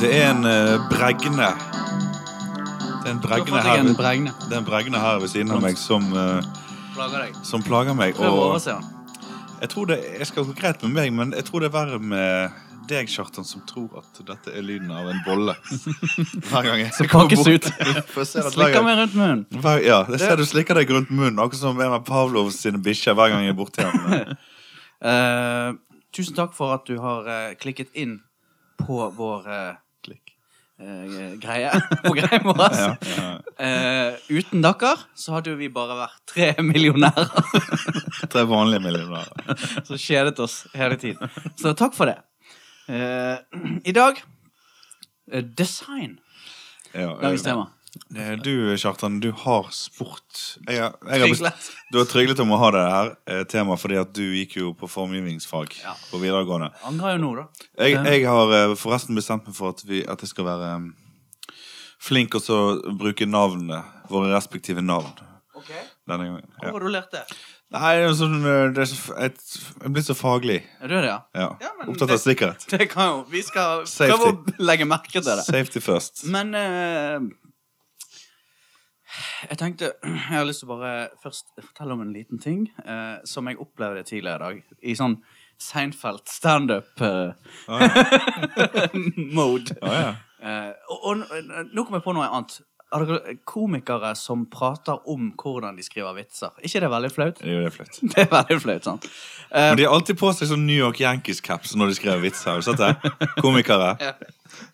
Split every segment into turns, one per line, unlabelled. Det er en eh, bregne. Det er en
Du har
bregne
fått deg
her,
en
ved-
bregne.
det er en bregne her ved siden av meg som, eh,
Plager deg.
som plager meg.
Prøv å
Og
overse den.
jeg tror det jeg skal gå greit med meg, men jeg tror det er verre med deg, Kjartan, som tror at dette er lyden av en bolle. Hver gang jeg
Så pakkes ut.
For jeg ser at hver
Slikker
gang-
meg rundt munnen.
Hver, ja, jeg ser du slikker deg rundt munnen, akkurat som en av Pavlov sine bikkjer hver gang jeg er borti ham.
Eh, tusen takk for at du har eh, klikket inn på vår eh,
Klikk.
eh, greie. På greia vår.
Ja, ja.
Eh, uten dere så hadde jo vi bare vært tre millionærer
Tre vanlige millionærer.
som kjedet oss hele tiden. Så takk for det. Eh, I dag eh, design.
Ja,
Dagens tema.
eh, Du, Kjartan, du har spurt jeg, har- jeg har best-
Tryglet.
Du har tryglet om å ha det her eh, temaet fordi at du gikk jo på formgivningsfag
Ja.
på videregående.
Angrer jo nå, da.
Jeg, jeg har eh, forresten bestemt meg for at, vi, at jeg skal være eh, flink og så bruke navnene, våre respektive navn.
Ok,
Denne gangen.
Hvor
Ja.
har du lært det?
Nei, det er sånn, eh, det er så, f- jeg, jeg er blitt så faglig.
Er du det, ja?
Ja.
Ja, men
Opptatt
det-
av sikkerhet.
Det kan jo Vi skal
Safety.
prøve å legge merke til det.
Safety first.
Men eh, Jeg tenkte Jeg har lyst til å bare først fortelle om en liten ting eh, som jeg opplevde tidligere i dag. I sånn Seinfeld eh,
Å,
standup-mode.
Ja, ja.
Eh, og, og n- nå kom jeg på noe annet. Har dere komikere som prater om hvordan de skriver vitser? ikke det veldig flaut?
Det er jo det flaut.
Det er veldig flaut, sant? Eh,
Men de har alltid på seg sånn New York Yankees-caps når de skriver vitser. Har du sett det? Komikere.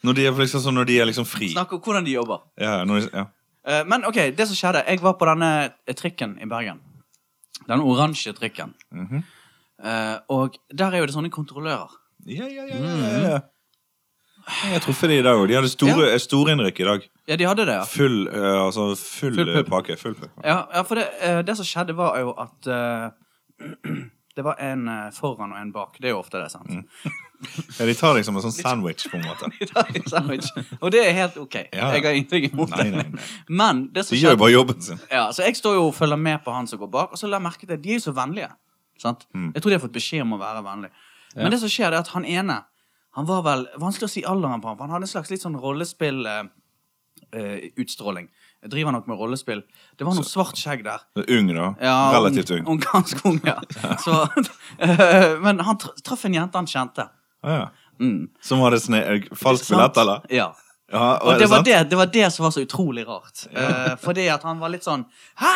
Når de er liksom, sånn, når de er liksom fri.
Snakk om hvordan de jobber.
Ja, når de, ja.
Eh, men ok, det som skjedde Jeg var på denne eh, trikken i Bergen. Den oransje trikken.
Mhm.
Eh, og der er jo det sånne kontrollører.
Ja, ja, ja, ja, ja, ja. Mm. Jeg har truffet de i dag òg. De hadde store, storinnrykk i dag.
Ja, de hadde det, ja.
Full, eh, altså full,
Full
eh,
pub.
pakke. Full pub.
Ja, ja for det, eh, det som skjedde, var jo at eh, Det var en eh, foran og en bak. Det er jo ofte det, sant?
Mm. Ja, de tar deg som en sånn sandwich, på en måte.
De tar en sandwich. Og det er helt ok.
Ja.
Jeg har ingenting imot
Nei, nei,
det.
nei.
Men det som
De gjør jo
skjedde
bare jobben sin.
ja, Så jeg står jo og følger med på han som går bak, og så la jeg merke til at de er jo så vennlige. Sant?
Mm.
Jeg tror de har fått beskjed om å være vennlige. Men det som skjer, det er at han ene Han var vel Vanskelig å si alderen på han, for han hadde en slags litt sånn rollespillutstråling. Eh, eh, utstråling. Jeg driver nok med rollespill. Det var noe svart skjegg der.
Ung, da.
Ja,
Relativt ung.
Og ganske ung, ja. Så, eh, men han tr traff en jente han kjente. Mm.
Ah, ja. Som hadde sne falsk
Sant?
billett, eller?
Ja.
Ja, og er
Og
det
det var
sant?
det, det var det som var så utrolig rart. Eh, fordi at han var litt sånn Hæ!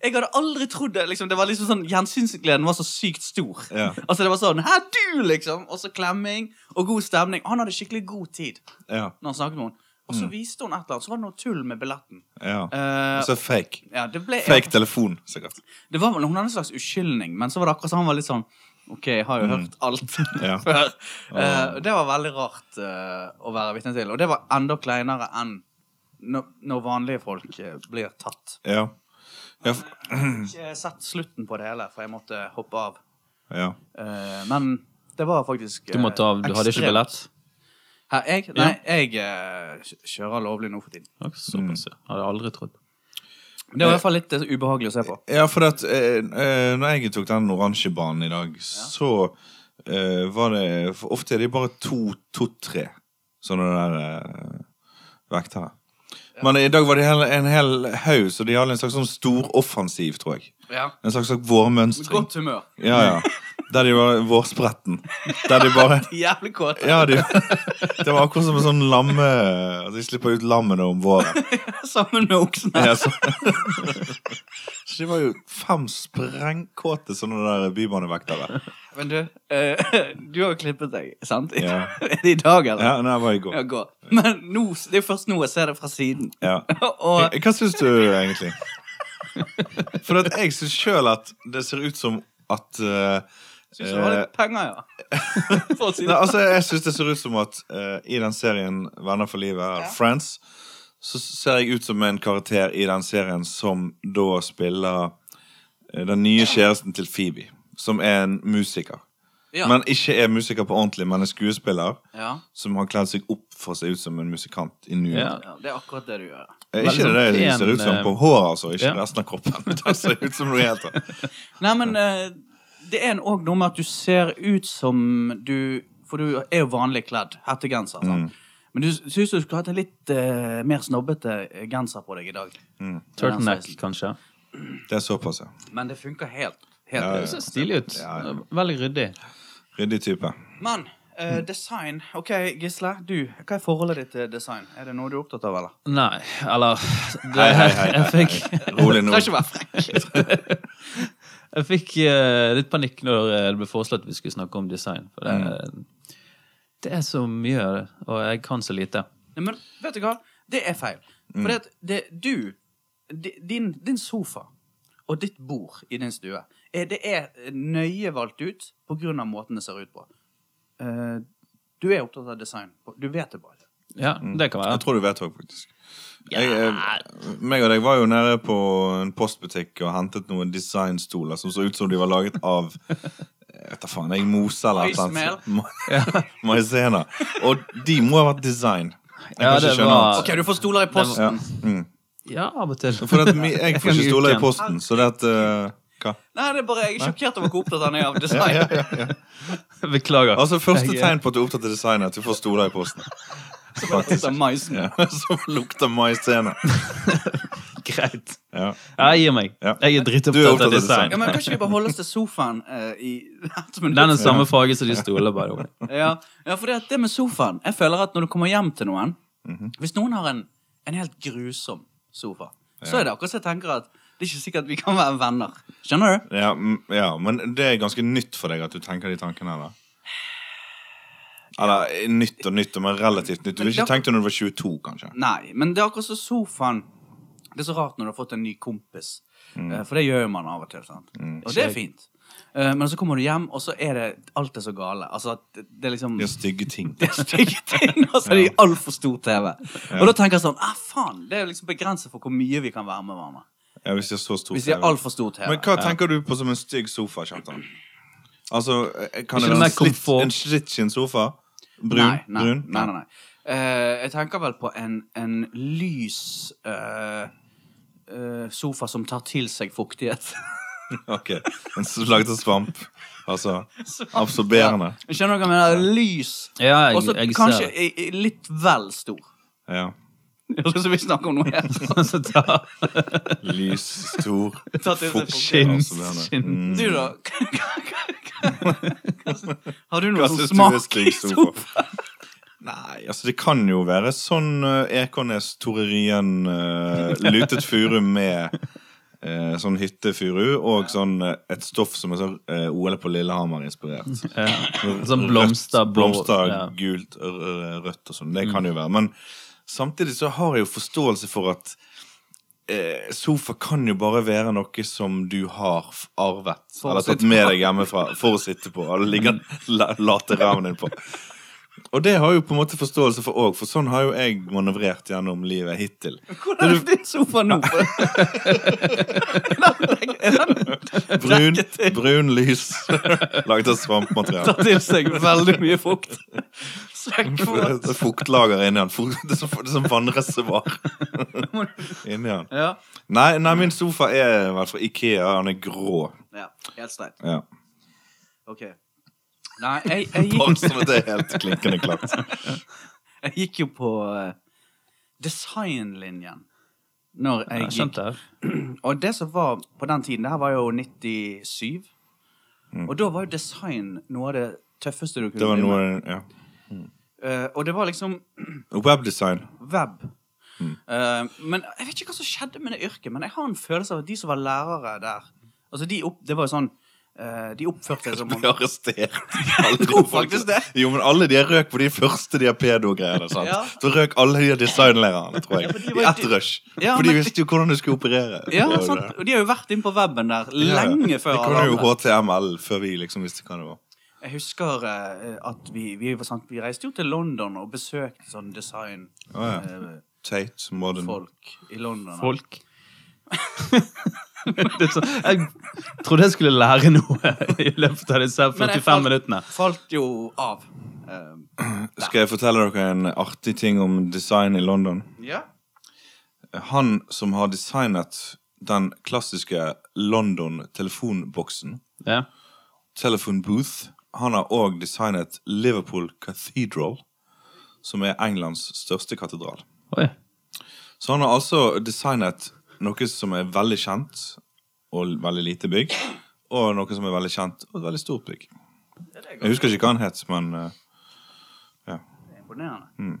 Jeg hadde aldri trodd det! Liksom, det var liksom sånn, Gjensynsgleden var så sykt stor.
Ja.
Altså det var sånn Hæ, du! liksom Og så klemming og god stemning. Han hadde skikkelig god tid
Ja,
når han snakket med henne. Og så viste hun et eller annet, så var det noe tull med billetten.
ja.
Eh,
Og Mm. så fake.
ja, det ble,
Fake telefon, sikkert.
Det var vel, Hun hadde en slags uskyldning, men så var det akkurat som han var litt sånn Ok, jeg har jo hørt alt
Ja.
før. Eh, og det var veldig rart eh, å være vitne til. Og det var enda kleinere enn når, når vanlige folk eh, blir tatt.
Ja. Ja, f-
Ikke sett slutten på det hele, for jeg måtte hoppe av.
ja.
Eh, men det var faktisk eh,
Du måtte av, du hadde ikke billett?
Hæ, jeg? Nei, jeg eh, kjører lovlig nå for tiden.
Ja, Såpass, ja. Hadde jeg aldri trodd.
Men det var i hvert fall litt eh, ubehagelig å se på.
ja for at, eh, eh, når jeg tok den oransje banen i dag, så eh, var det for Ofte er de bare to, to-tre sånne der eh, vektere. Men i dag var det hel, en hel haug, så de hadde en slags sånn stor offensiv, tror jeg.
Ja.
En slags, slags vårmønstring.
Godt humør.
Ja, ja. Der de var vårspretten. Der de bare
Jævlig kåt.
Ja, de, det var akkurat som en sånn lamme At de slipper ut lammene om våren.
Sammen med oksene.
Ja, så. så det var jo fem sprengkåte sånne der bybanevektere.
Men du, eh, du har jo klippet deg, sant?
Ja.
Er det i dag, eller?
Ja, nei, det var i
Ja,
går.
gå. Men nå, det er jo først nå jeg ser det fra siden.
Ja.
Og
Hva syns du, egentlig? For at jeg syns sjøl at det ser ut som at eh,
synes du har litt penger, ja. For å si
Nei,
det.
altså, jeg syns det ser ut som at eh, i den serien Venner for livet, Friends, så ser jeg ut som en karakter i den serien som da spiller eh, den nye kjæresten til Phoebe, som er en musiker.
Ja.
Men ikke er musiker på ordentlig, men en skuespiller
Ja.
som har kledd seg opp for å se ut som en musikant i New York.
ja, det er akkurat det du gjør.
Eh, Ikke
Veldig
det
sånn
det
pen,
ser ut som
eh,
på håret, altså. Ikke
ja.
resten av kroppen. Det ser ut som noe helt annet.
Nei, men eh, det er en òg noe
Mm.
med at du ser ut som du For du er jo vanlig kledd. Hettegenser. sant? Men Men du syns du skulle hatt en litt eh, mer snobbete eh, genser på deg i dag.
Mm.
Turtleneck, kanskje.
Det er såpass, ja.
Men det funker helt. helt
Ja, ja.
Det ser stilig ut.
Ja, ja.
Veldig ryddig.
Ryddig type.
Men
Mm.
eh, design OK, Gisle. Du, hva er forholdet ditt til design? Er det noe du er opptatt av, eller?
Nei, eller det,
Hei, hei, hei,
Jeg
hei,
fikk,
hei. Rolig nå.
Trenger ikke være frekk.
jeg fikk eh, litt panikk når eh, det ble foreslått at vi skulle snakke om design. For det,
Mm.
det er så mye, og jeg kan så lite.
Nei, men vet du hva? Det er feil.
Mm.
For det, det, du di- din, din sofa og ditt bord i din stue er, Det er nøye valgt ut på grunn av måten det ser ut på. Eh, du er opptatt av design. Du vet det bare.
Ja, det kan
Mm. Jeg
være.
tror du vet det, faktisk. Jeg, jeg, meg og deg var jo nede på en postbutikk og hentet noen designstoler som så ut som de var laget av jeg vet da faen, jeg mose eller et eller annet. Maizena. Og de må ha vært design. Jeg
Ja,
kan ikke
det
skjønne
var-
annet.
OK, du får stoler i
Ja.
posten.
Mm.
Ja, av og til.
For at, mi- jeg får ikke stoler i
Uken.
posten, så det at eh, Hva?
Nei, det er bare jeg er sjokkert over hvor opptatt han er av design.
Beklager.
Altså, første
Jeg-
tegn på at du er opptatt av design, er at du får stoler i posten.
Som maisen.
Ja. Som lukter maizena.
Greit.
Ja.
Ja, jeg gir meg.
Ja. Du
Jeg er
er
drittopptatt
opptatt av
av design.
Ja, men Kan ikke vi bare holde oss til sofaen eh, i hvert minutt?
Det er den samme farge som de stoler, by the way.
Ja, ja for det, at det med sofaen Jeg føler at når du kommer hjem til noen
Mhm.
Hvis noen har en, en helt grusom sofa, så er det akkurat så jeg tenker at det er ikke sikkert vi kan være venner. Skjønner du?
Ja, mm, ja, men det er ganske nytt for deg at du tenker de tankene her, da? Eller eh, nytt og nytt, men relativt nytt. Du ville ikke
da-
tenkt det når du var 22, kanskje?
Nei, men det er akkurat som sofaen. Det er så rart når du har fått en ny kompis.
Mm.
Eh, For det gjør jo man av og til. sant? Og det er fint. Eh, Men så kommer du hjem, og så er det alt er så gale. Altså, at det, det er liksom
De har stygge ting.
det er stygge ting, og så er det i altfor stor TV. Og da tenker jeg sånn ah, faen, Det er jo liksom begrenset for hvor mye vi kan være med hverandre.
Ja, hvis de har så stor
Hvis de har
TV.
altfor stor TV.
Men hva tenker du på som en stygg sofa, Kjartan? Altså, eh, kan
Ikke
det være
den der
en slitt-
komfort-
en slitskinnsofa? Brun?
Nei, nei,
Brun?
nei. nei, nei. Eh, jeg tenker vel på en, en lys eh, eh, sofa som tar til seg fuktighet.
Ok. En slags svamp. Altså absorberende.
Skjønner du hva jeg mener? Lys.
Ja, jeg-
Og så
jeg ser
kanskje
det.
i- i litt vel stor.
Ja.
Sånn som vi snakker om noe her.
Altså, da-
Lys, stor,
Ta til seg
fuktig,
Skinn.
absorberende. Mm.
skinn.
Du, da? Har du
Hva
noe som
synes du er
smaker i
stygg
sofa?
sofa? Nei, altså det kan jo være sånn eh, Ekornes, Tore Ryen, eh, lutet furu med eh, sånn hyttefuru og sånn eh, et stoff som er sånn eh, OL på Lillehammer-inspirert.
Sånn blomster,
Rødt,
blå-
blomster
ja.
gult, r- r- rødt og sånn. Det kan jo være. Men samtidig så har jeg jo forståelse for at eh, sofa kan jo bare være noe som du har f- arvet.
å
eller tatt
sitte
med deg hjemmefra for å sitte på. Eller ligger la- late ræven din på. Og det har jeg jo på en måte forståelse for òg, for sånn har jo jeg manøvrert gjennom livet hittil.
Hvordan er din sofa nå?
Brun, brun lys laget av svampmateriale.
Tar til seg veldig mye fukt. Søkk
For
for
Det det er fuktlager inni den. Fukt, det er som, det er som vannreservoar inni den.
Ja.
Nei, nei, min sofa er i hvert fall Ikea. Han er grå.
ja. Helt streit.
Ja.
Ok. Nei, jeg, jeg,
Bare
gikk,
sånn at det er helt klinkende klart.
jeg gikk jo på eh, designlinjen når
Ja,
jeg gikk.
skjønt det.
Og det som var på den tiden, det her var jo 97, og da var jo design noe av det tøffeste du kunne
Det var
drive
noe
med.
ja.
Eh, og det var liksom
Webdesign.
web.
Mm.
Eh, men jeg vet ikke hva som skjedde med det yrket, men jeg har en følelse av at de som var lærere der Altså, de opp, det var jo sånn eh, De oppførte seg som om
Ble arrestert. Alle de
tror
folk-
faktisk det.
Jo, men alle de har røk på de første de har pedo-greiene. sant?
Ja,
Så røk alle de designlærerne, tror jeg.
for de var
I
jo
ett
de-
rush.
Ja,
For de
men de-
visste jo hvordan du skulle operere.
Ja,
Det var jo
sant.
det.
Og de har jo vært inne på weben der
Ja, ja.
lenge før
De
alle
kunne jo
andre.
HTML før vi liksom visste hva det var.
Jeg husker eh, at vi, vi, var sant, vi reiste jo til London og besøkte sånn designfolk
Å, ja. Tate Modern.
i London.
Folk. det er så, jeg trodde jeg skulle lære noe i løpet av disse
Men jeg
45 minuttene.
falt jo av. Eh,
Skal jeg fortelle dere en artig ting om design i London?
ja.
Han som har designet den klassiske London-telefonboksen,
Ja.
Telephone Booth, han har òg designet Liverpool Cathedral, som er Englands største katedral.
Oi.
Så han har altså designet noe som er veldig kjent og veldig lite bygg, og noe som er veldig kjent og et veldig stort bygg. Jeg husker ikke hva han het, men eh, ja.
Det er imponerende.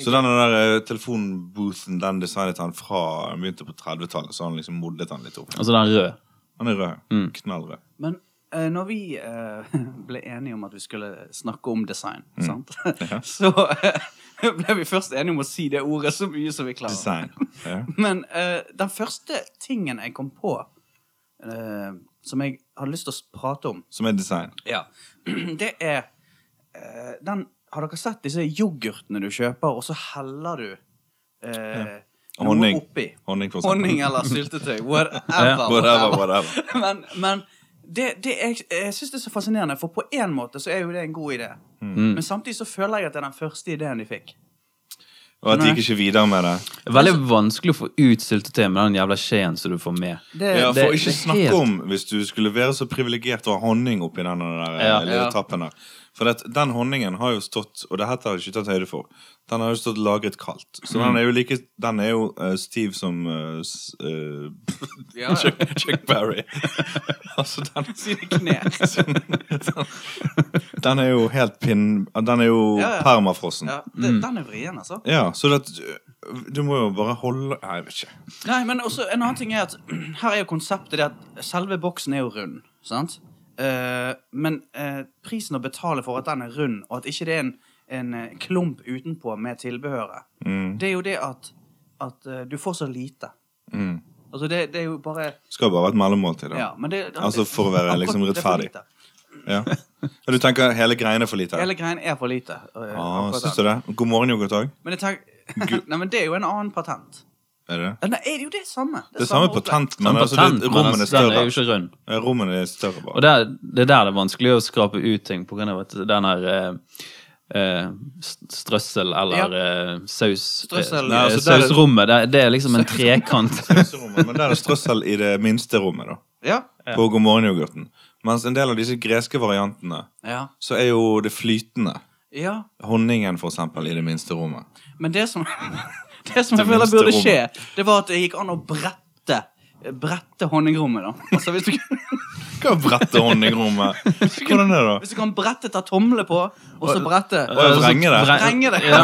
Så den der eh, telefonboothen den designet han fra han begynte på 30-tallet, så han liksom modlet han litt opp.
Altså den røde.
Han er rød. Knallrød.
Men eh, når vi eh, ble enige om at vi skulle snakke om design, sant? så eh, ble vi først enige om å si det ordet så mye som vi klarer.
Design. Ja.
Men eh, den første tingen jeg kom på, eh, som jeg hadde lyst til å prate om,
Som er design.
Ja. Det er eh, den, Har dere sett disse yoghurtene du kjøper, og så heller du eh, noe
Honning.
oppi?
Honning, for eksempel.
Honning eller syltetøy.
Ja,
Whatever.
Whatever, whatever.
men men det, det er, jeg syns det er så fascinerende, for på én måte så er jo det en god idé.
Mm.
Men samtidig så føler jeg at det er den første ideen de fikk.
Og at de gikk ikke videre med det.
Veldig vanskelig å få ut syltetøy med den jævla skjeen som du får med.
Det,
Ja,
det-
for ikke
det er
snakke
helt-
om hvis du skulle være så privilegert å ha honning oppi den der eh,
Ja.
lille
Ja.
tappen der. For at den honningen har jo stått, og det her har jeg ikke tatt høyde for, den har jo stått lagret kaldt. Så
Mm.
den er jo like Den er jo eh, stiv som eh, s- eh,
Ja, ja.
Chuck, Chuck Berry. altså, den,
Sine knær.
den er jo helt pinn... Den er jo
Ja, ja.
permafrossen.
Ja,
Ja.
det, Den er vrien, altså.
så det, at- eh, du må jo bare holde Nei, jeg vet ikke.
Nei, men også en annen ting er at her er jo konseptet det at selve boksen er jo rund, sant? Eh, men eh, prisen å betale for at den er rund, og at ikke det er en, en eh, klump utenpå med tilbehøret,
Mm,
det er jo det at, at eh, du får så lite. Altså, det, det er jo bare
mm. Skal bare være et mellommåltid. da.
Ja, men det
Altså, for å være liksom
akkurat- det er for
rettferdig.
lite.
Ja. Du tenker hele greiene er for lite?
Hele greien er for lite. eh,
Ah,
akkurat
syns
den.
du det? God morgen, yoghurt òg.
Men jeg tenker, nei, men det er jo en annen patent.
Er det det?
Eh, Nei, det er jo det samme.
Det er samme
opplegg.
patent, men,
Den
altså,
patent,
det,
men
rommene
altså,
er større.
Den er jo ikke rund.
Eh, Rommene er større bare.
Og der, det er der det er vanskelig å skrape ut ting på grunn av at den her eh, eh, st- strøssel eller eh, saus
Strøssel.
eh,
Nei, altså, der er-
Sausrommet. Det, det er liksom en trekant.
Pauserommet, men der er strøssel i det minste rommet, da.
Ja.
På god morgen-yoghurten. Mens en del av disse greske variantene,
Ja.
så er jo det flytende.
ja.
Honningen, for eksempel, i det minste rommet.
Men det som, det som jeg
Det
føler
minste
burde
rommet.
skje, det var at det gikk an å brette Brette honningrommet, da. Altså, hvis, du, kan-
Hva brette honningrommet? Hvordan er det, da?
hvis du kan brette, ta tomle på, og så brette
Å, jeg vrenger det?
Vrenge det!
Ja.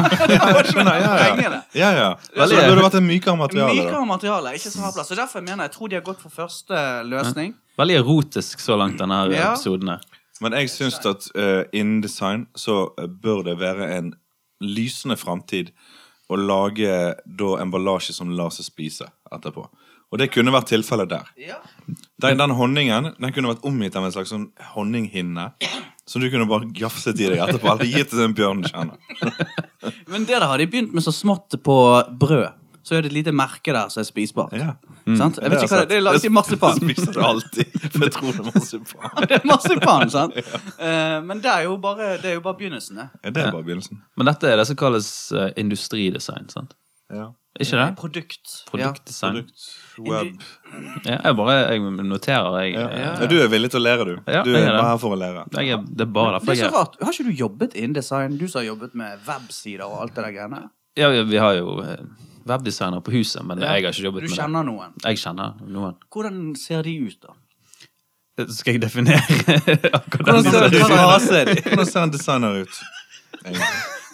Skjønner, ja,
Vrenge
ja.
det.
ja, ja. Så det burde vært en mykere materiale.
Mykere
da.
materiale, ikke så hard plass. Så Derfor mener jeg, jeg tror de har gått for første løsning.
Veldig erotisk så langt denne her
Ja.
episoden her.
Men jeg syns at eh, innen design så eh, bør det være en lysende framtid å lage da emballasje som lar seg spise etterpå. Og det kunne vært tilfellet der.
Ja.
Den, den honningen den kunne vært omgitt av en slags sånn honninghinne. Som du kunne bare jafset i deg etterpå. Eller gitt til en bjørn du kjenner.
Men det der har de begynt med så smått på brød. Så er det et lite merke der som er spisbart. Mm.
Ja.
Sant? Jeg vet ikke hva det er.
har
Det er
jeg
laget i
sett.
marsipan.
Jeg spiser det alltid. For jeg tror det er marsipan.
Det er marsipan, sant? Eh, men det er jo bare, det er jo bare begynnelsen, det.
Ja, det er bare begynnelsen.
Men dette er det som kalles eh, industridesign, sant?
Ja.
Ikke det?
Produkt. Sånn.
Produktdesign.
Produkt, web.
Ja, jeg bare jeg noterer, jeg.
Ja.
eh,
Ja, Du er villig til å lære, du.
Ja,
Du
jeg
er
er det.
bare her for å lære.
Jeg er, det er bare
Det er
derfor
så
jeg
rart. Har ikke du jobbet innen design? Du som har jobbet med websider og alt det der greiene.
ja, ja, Vi har jo eh, webdesigner på huset, men jeg har ikke jobbet
Du
med
kjenner noen.
det. Jeg kjenner noen. Eh,
Hvordan ser de ut, da?
Skal jeg definere akkurat
Hvordan
det?
ser
ser
du
ut?
rase de?
Hvordan ser en sånn designer ut? Egentlig.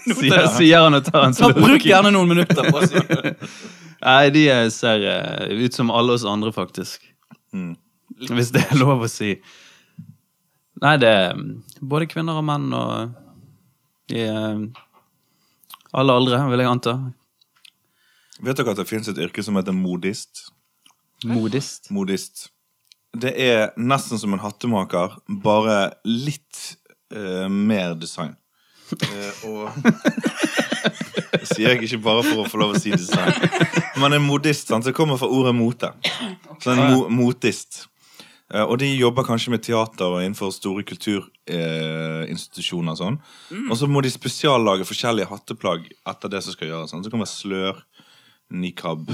Sier, sier han og tar en
Ta,
slurk.
bruk gjerne noen minutter på å si
Nei, de eh, ser eh, ut som alle oss andre, faktisk.
Mm.
Hvis det er lov å si. Nei, det er mm, både kvinner og menn og i eh, alle aldre, vil jeg anta.
Vet dere at det fins et yrke som heter modist?
Modist.
Modist. Det er nesten som en hattemaker, bare litt eh, mer design. Eh, og Det sier jeg ikke bare for å få lov å si design. Men en modist sant, så kommer fra ordet mote. Så en mo motist. Eh, og de jobber kanskje med teater og innenfor store kulturinstitusjoner. og sånn.
Mm.
Og så må de spesiallage forskjellige hatteplagg etter det som skal gjøres. Sånn. Så det kan være slør, nikab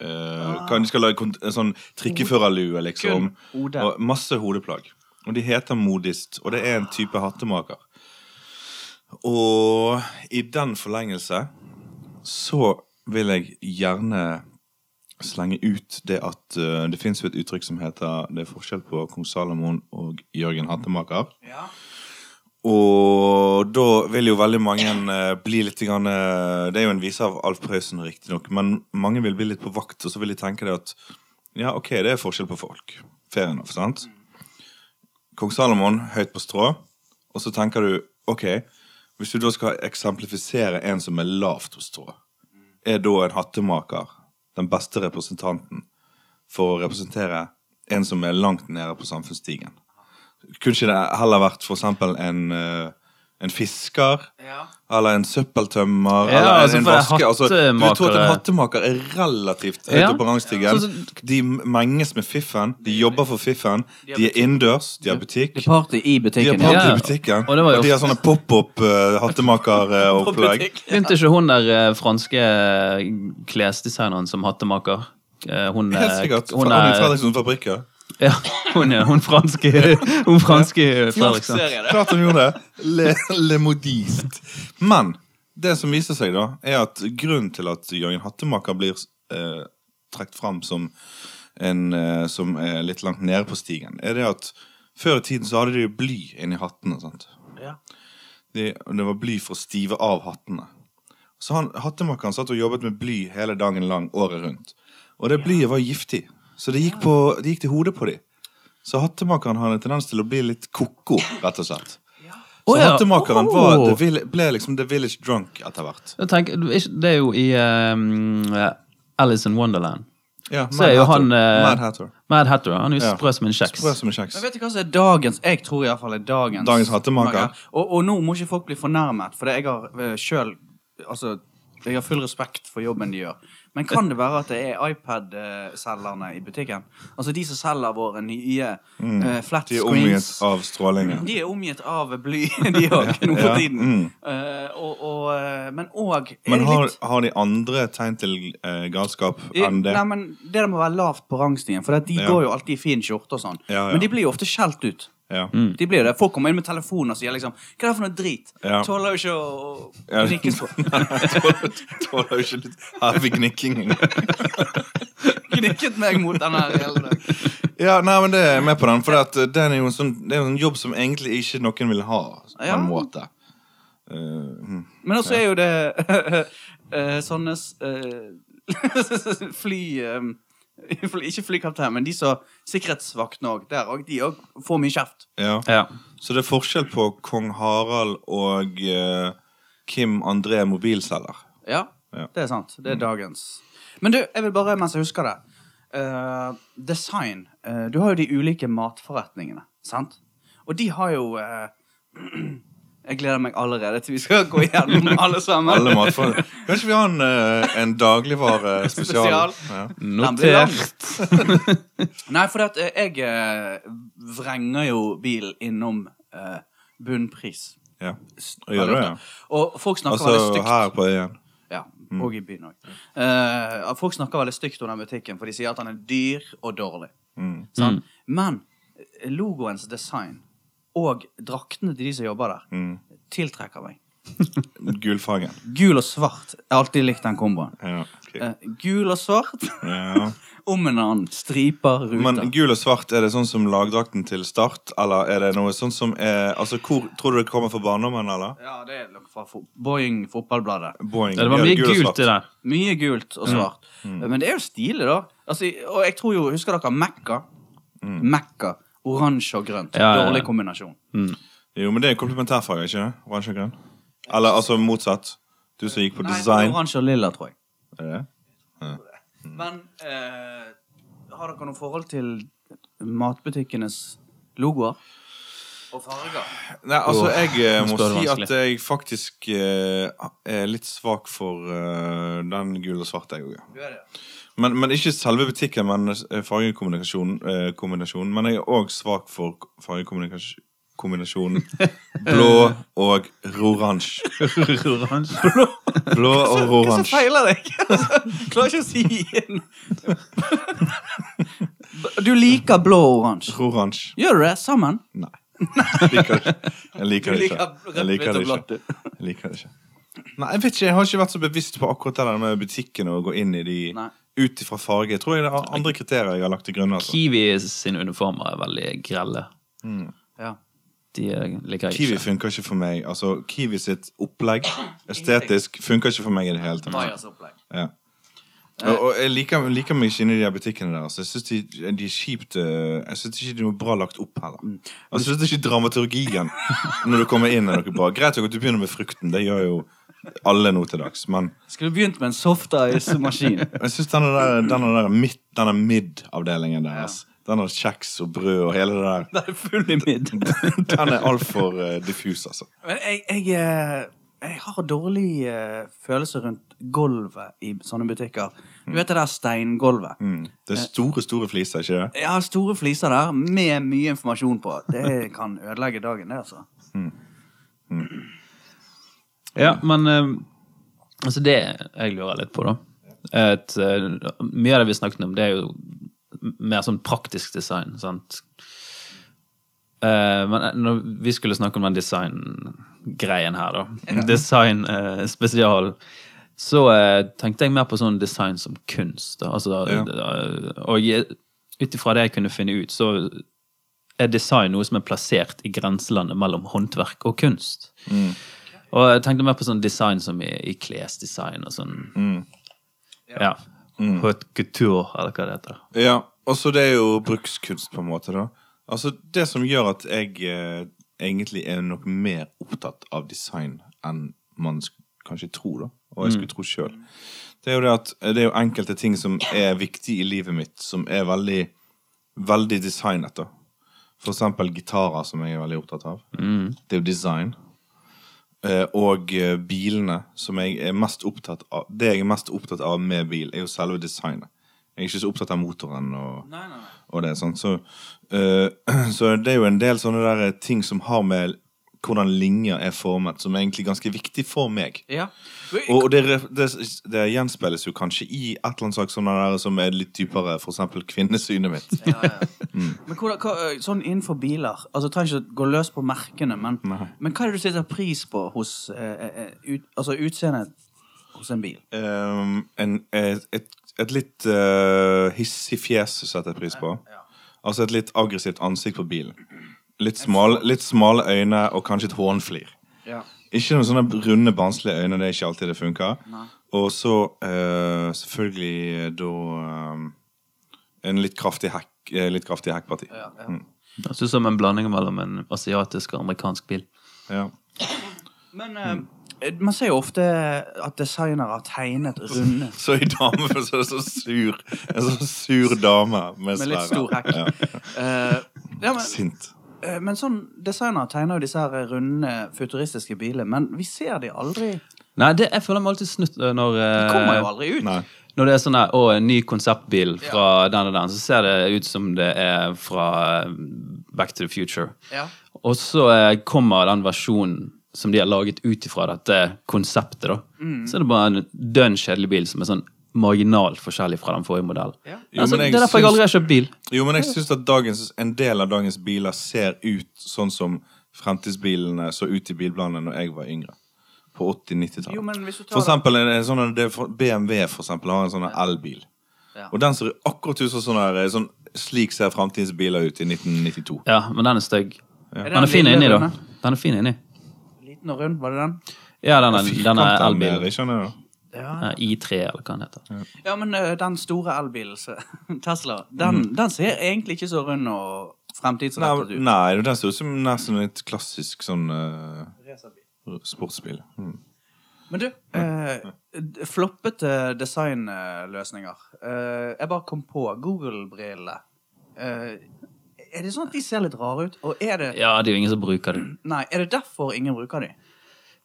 eh, kan, De skal lage kont- en sånn trikkeførerlue, liksom.
Ah. Kun hode.
Og masse hodeplagg. Og de heter modist, og det er en type hattemaker. Og i den forlengelse så vil jeg gjerne slenge ut det at eh, det fins jo et uttrykk som heter 'Det er forskjell på kong Salomon og Jørgen Hattemaker'.
Ja.
Og da vil jo veldig mange eh, bli litt grann, eh, Det er jo en vise av Alf Prøysen, riktignok, men mange vil bli litt på vakt, og så vil de tenke det at ja, ok, det er forskjell på folk. Fair enough, sant? Kong Salomon høyt på strå, og så tenker du ok, hvis du da skal eksemplifisere en som er lavt på strå, er da en hattemaker den beste representanten for å representere en som er langt nede på samfunnsstigen? Kunne ikke det heller vært for eksempel en, eh, en fisker?
Ja.
Eller en søppeltømmer?
Ja,
eller en,
altså,
en
for det er
vasker? Altså, du tror at en
hattemakere-
hattemaker er relativt høyt
Ja.
oppe på rangstigen.
Ja, sånn som-
de menges med fiffen, de jobber for fiffen,
har
de er innendørs, de har butikk.
Det er party i
De har
butikken.
party
Ja.
i butikken,
Og det var jo
og de har sånne eh, pop-opp-hattemaker-opplegg.
Begynte ikke hun der eh, franske eh, klesdesigneren som hattemaker? Eh, hun,
Helt
eh,
sikkert.
Hun
Fra Annie
er,
Fredriksson Fabrikker.
ja, hun, er, hun franske, hun franske Fredriksen.
eh, Klart han gjorde det. Le, le modist. Men det som viser seg, da, er at grunnen til at Jørgen Hattemaker blir eh, trukket fram som en eh, som er litt langt nede på stigen, er det at før i tiden så hadde de jo bly inni hattene. sant?
Ja.
Det, og det var bly for å stive av hattene. Så han, hattemakeren satt og jobbet med bly hele dagen lang året rundt. Og det blyet var giftig, så det gikk, på, det gikk til hodet på dem. Så hattemakeren har en tendens til å bli litt ko-ko, rett og slett. Så
Å, ja.
hattemakeren var,
Åh.
the vill- ble liksom the village drunk etter hvert.
Jeg tenker, du- ikke- det er jo i eh, Alice in Wonderland.
Ja,
Så er jo han, eh,
Mad Hatter.
Mad Hatter. Han er jo
Ja.
sprø som en kjeks.
Sprø som en kjeks.
Men vet du hva som er dagens Jeg tror iallfall er dagens
Dagens hattemaker.
Og, og nå må ikke folk bli fornærmet, for det jeg har eh, selv Altså, jeg har full respekt for jobben de gjør. Men kan det være at det er iPad-selgerne i butikken? Altså de som selger våre nye eh,
Mm.
flat
De er
screens.
omgitt av strålingen.
De er omgitt av bly, de òg, nå
Ja,
for tiden.
mm.
Eh, og, og, eh, men òg er
Men
det
har,
litt
har de andre tegn til eh, galskap enn det?
Nei, men Det der må være lavt på rangstigen, for at de
Ja.
går jo alltid i fin skjorte og sånn.
Ja, ja.
Men de blir jo ofte skjelt ut.
Ja.
De blir jo det. Folk kommer inn med telefoner og sier liksom Hva er det for noe drit?
Ja.
Tåler jo ikke å
Ja.
å gnikkes på.
Tåler tåler jo ikke litt heavy gnikking engang.
Gnikket meg mot den her hele dagen.
Ja, nei, men det er jeg med på den. For at, eh, den er jo en sånn, det er jo en jobb som egentlig ikke noen vil ha. På
Ja.
en måte. Eh, hm.
Men også er jo det eh, sånne eh, fly... eh, fly- ikke flykaptein, men de som sikkerhetsvaktene òg. Der òg. De òg får mye kjeft.
ja.
Ja.
Så det er forskjell på kong Harald og eh, Kim André mobilselger.
Ja,
Ja.
det er sant. Det er dagens. Men du, jeg vil bare, mens jeg husker det eh, Design. Eh, du har jo de ulike matforretningene, sant? Og de har jo eh, Jeg gleder meg allerede til vi skal gå gjennom alle sammen.
Alle matfor- Kanskje vi har en, eh, en dagligvarespesial?
Spesial.
Ja.
Den blir lang.
Notert.
Nei, for at, eh, jeg eh, vrenger jo bilen innom eh, bunnpris.
ja. Og gjør du det? ja?
Og folk snakker veldig
Altså
stygt.
her Mm. på øyen.
Ja, og i byen òg. folk snakker veldig stygt om den butikken, for de sier at han er dyr og dårlig.
Mm,
Mm.
Sant? Men eh, logoens design og draktene til de som jobber der,
mm.
tiltrekker meg.
Gullfargen.
Gul og svart. Jeg har alltid likt den komboen.
Ja. ok.
Eh, gul og svart
ja.
om en annen. Striper, ruter.
Men gul og svart, er det sånn som lagdrakten til Start? Eller er det noe sånn som er Altså, hvor tror du det kommer fra barndommen, eller?
ja, det er noe fra fo Boeing Fotballbladet.
Boeing.
Ja, det var
Ja,
mye
gul og svart.
gult i det.
Mye gult
Mm.
og svart. Eh, Men det er jo stilig, da. Altså, og jeg tror jo, Husker dere Mekka? Mekka. Oransje og grønt.
Mm. Ja, ja, ja.
Dårlig kombinasjon.
Jo, men det er komplementærfarge, ikke det? Oransje og grønn? Eller altså motsatt. Du som gikk på
Nei,
design.
oransje og lilla, tror jeg.
Er det det?
Men eh, har dere noe forhold til matbutikkenes logoer? Og farger?
Nei, altså,
Åh,
jeg eh,
nå
må
spør du
si at
vanskelig.
jeg faktisk eh, er litt svak for eh, den gule og svarte, jeg òg.
Du er det.
Men, men ikke selve butikken, men eh, fargekombinasjonen. eh, kombinasjonen. Men jeg er òg svak for k- fargekombinasjonen blå og oransje.
Oransje.
Blå og
Hva som
oransje.
feiler deg? Klarer ikke å si inn. Du liker blå og oransje.
Oransje.
Gjør du det? Sammen?
Nei. liker det ikke. Jeg liker det
Du
ikke.
liker
Jeg liker det
rødt, hvitt og
ikke. Jeg liker det ikke. Nei, jeg vet ikke, jeg har ikke vært så bevisst på akkurat det der med butikken og gå inn i de
Nei.
ut ifra farge. Jeg tror jeg det er andre kriterier jeg har lagt til grunn. Altså.
Kiwi sine uniformer er veldig grelle.
Ja.
De eh, liker jeg
Kiwi
ikke.
funker ikke for meg. Altså, Kiwi sitt opplegg estetisk funker ikke for meg i det hele tatt.
Majas opplegg.
Ja. Og, og jeg liker, liker meg ikke inni de her butikkene der. Altså. Jeg syns de, de er kjipt eh, Jeg synes ikke de er bra lagt opp heller. Altså, Jeg syns ikke dramaturgien når du kommer inn, er noe bra. Greit nok at du begynner med frukten, det gjør jo alle nå til dags, men
Skulle begynt med en soft ice-maskin.
jeg syns denne, der, denne, der midt, denne mid-avdelingen deres, den har kjeks og brød og hele det der,
Det er full i midd.
den er altfor uh, diffus, altså.
Men jeg, jeg, eh, jeg har dårlig eh, følelse rundt gulvet i sånne butikker. Du vet det der steingulvet?
Mm. Det er store, store fliser, ikke det?
Jeg har store fliser der med mye informasjon på. Det kan ødelegge dagen, det, altså.
Ja, men eh, altså det jeg lurer litt på, da Et, eh, Mye av det vi snakket om, det er jo mer sånn praktisk design, sant? Eh, men eh, når vi skulle snakke om den designgreien her, da Design eh, spesial. Så eh, tenkte jeg mer på sånn design som kunst. Da. Altså, eh, og jeg- ut ifra det jeg kunne finne ut, så er design noe som er plassert i grenselandet mellom håndverk og kunst. Og jeg tenkte mer på sånn design som i, i klesdesign og sånn.
Mm.
Ja. Haute couture, eller hva det heter.
Ja, og så det er jo brukskunst, på en måte, da. Altså, det som gjør at jeg eh, egentlig er nok mer opptatt av design enn man sk kanskje tror, da. Og jeg skulle tro sjøl. Det er jo det at eh, det er jo enkelte ting som er viktig i livet mitt, som er veldig, veldig designet, da. For eksempel gitarer, som jeg er veldig opptatt av. Det er jo design. Eh, Og eh, bilene, som jeg er mest opptatt av Det jeg er mest opptatt av med bil, er jo selve designet. Jeg er ikke så opptatt av motoren og,
Nei, nei, nei.
og det. Sånn. Så, eh, så det er jo en del sånne der eh, ting som har med hvordan linjer er formet, som er egentlig ganske viktig for meg.
Ja.
Og og det, ref- det, det gjenspeiles jo kanskje i et eller annet sak som, den der, som er litt dypere, f.eks. kvinnesynet mitt.
Ja, ja. Men hvordan, hva, eh, sånn innenfor biler altså jeg trenger ikke å gå løs på merkene, men, men hva er det du setter pris på hos eh, eh, ut, altså utseendet hos en bil?
Ehm, en, et, et, et litt eh, hissig fjes setter jeg pris på. Altså et litt aggressivt ansikt på bilen. Litt, smal, litt smale øyne og kanskje et hånflir.
Ja.
Ikke noen sånne runde, barnslige øyne. Det er ikke alltid det funker. Og så eh, selvfølgelig eh, da eh, En litt kraftig hekk. eh, Litt kraftig hekkparti.
Ja, ja.
Det ser ut som en blanding mellom en asiatisk og amerikansk bil.
Ja.
Men eh, man ser jo ofte at designere har tegnet runde
Så i dame så er det så sur. En sånn sur dame med,
med litt stor
svære-
hekk.
Ja.
Eh, ja, men,
Sint.
eh, men sånn designere tegner jo disse her runde, futuristiske bilene, men vi ser de aldri.
Nei, det, jeg føler meg alltid snutt eh, når eh,
De kommer jo aldri ut.
Nei.
Når det er sånn her, å, en ny konseptbil fra den og den, så ser det ut som det er fra eh, Back to the Future.
Ja.
Og så eh, kommer den versjonen som de har laget ut ifra dette konseptet, da.
Mm.
Så er det bare en dønn kjedelig bil som er sånn marginalt forskjellig fra den forrige modellen.
Ja.
Jo,
altså,
men jeg
det er derfor jeg
syns-
aldri har kjøpt bil.
Jo, men jeg syns at dagens, en del av dagens biler ser ut sånn som fremtidsbilene så ut i bilbladene når jeg var yngre. På 80-90-tallet.
Jo, men hvis du tar-
For eksempel en, en sånn, det, er for- BMW for eksempel, har en sånn elbil.
Ja.
Og den ser akkurat ut som sånn, her, sånn Slik ser fremtidens biler ut i 1992.
Ja, men den er stygg.
Er det
Den er fin
lille
inni, da.
runde?
Den er fin inni.
Liten og rund, var det den?
Ja, den er, den er
Firkanten der,
elbil.
jeg skjønner det.
Ja,
Ja, I3, eller hva den heter.
Ja, men ø, den store elbilen, så- Tesla, den,
Mm.
den ser egentlig ikke så rund og fremtidsrettet
Nei,
ut.
nei, den ser ut som nesten et klassisk sånn eh,
Racerbil.
sportsbil. Mm.
Men du, ø, d- floppete designløsninger. Eh, jeg bare kom på Google-brillene. Eh, er det sånn at de ser litt rare ut? Og er det,
Ja, det er jo ingen som bruker den.
nei, er det derfor ingen bruker de?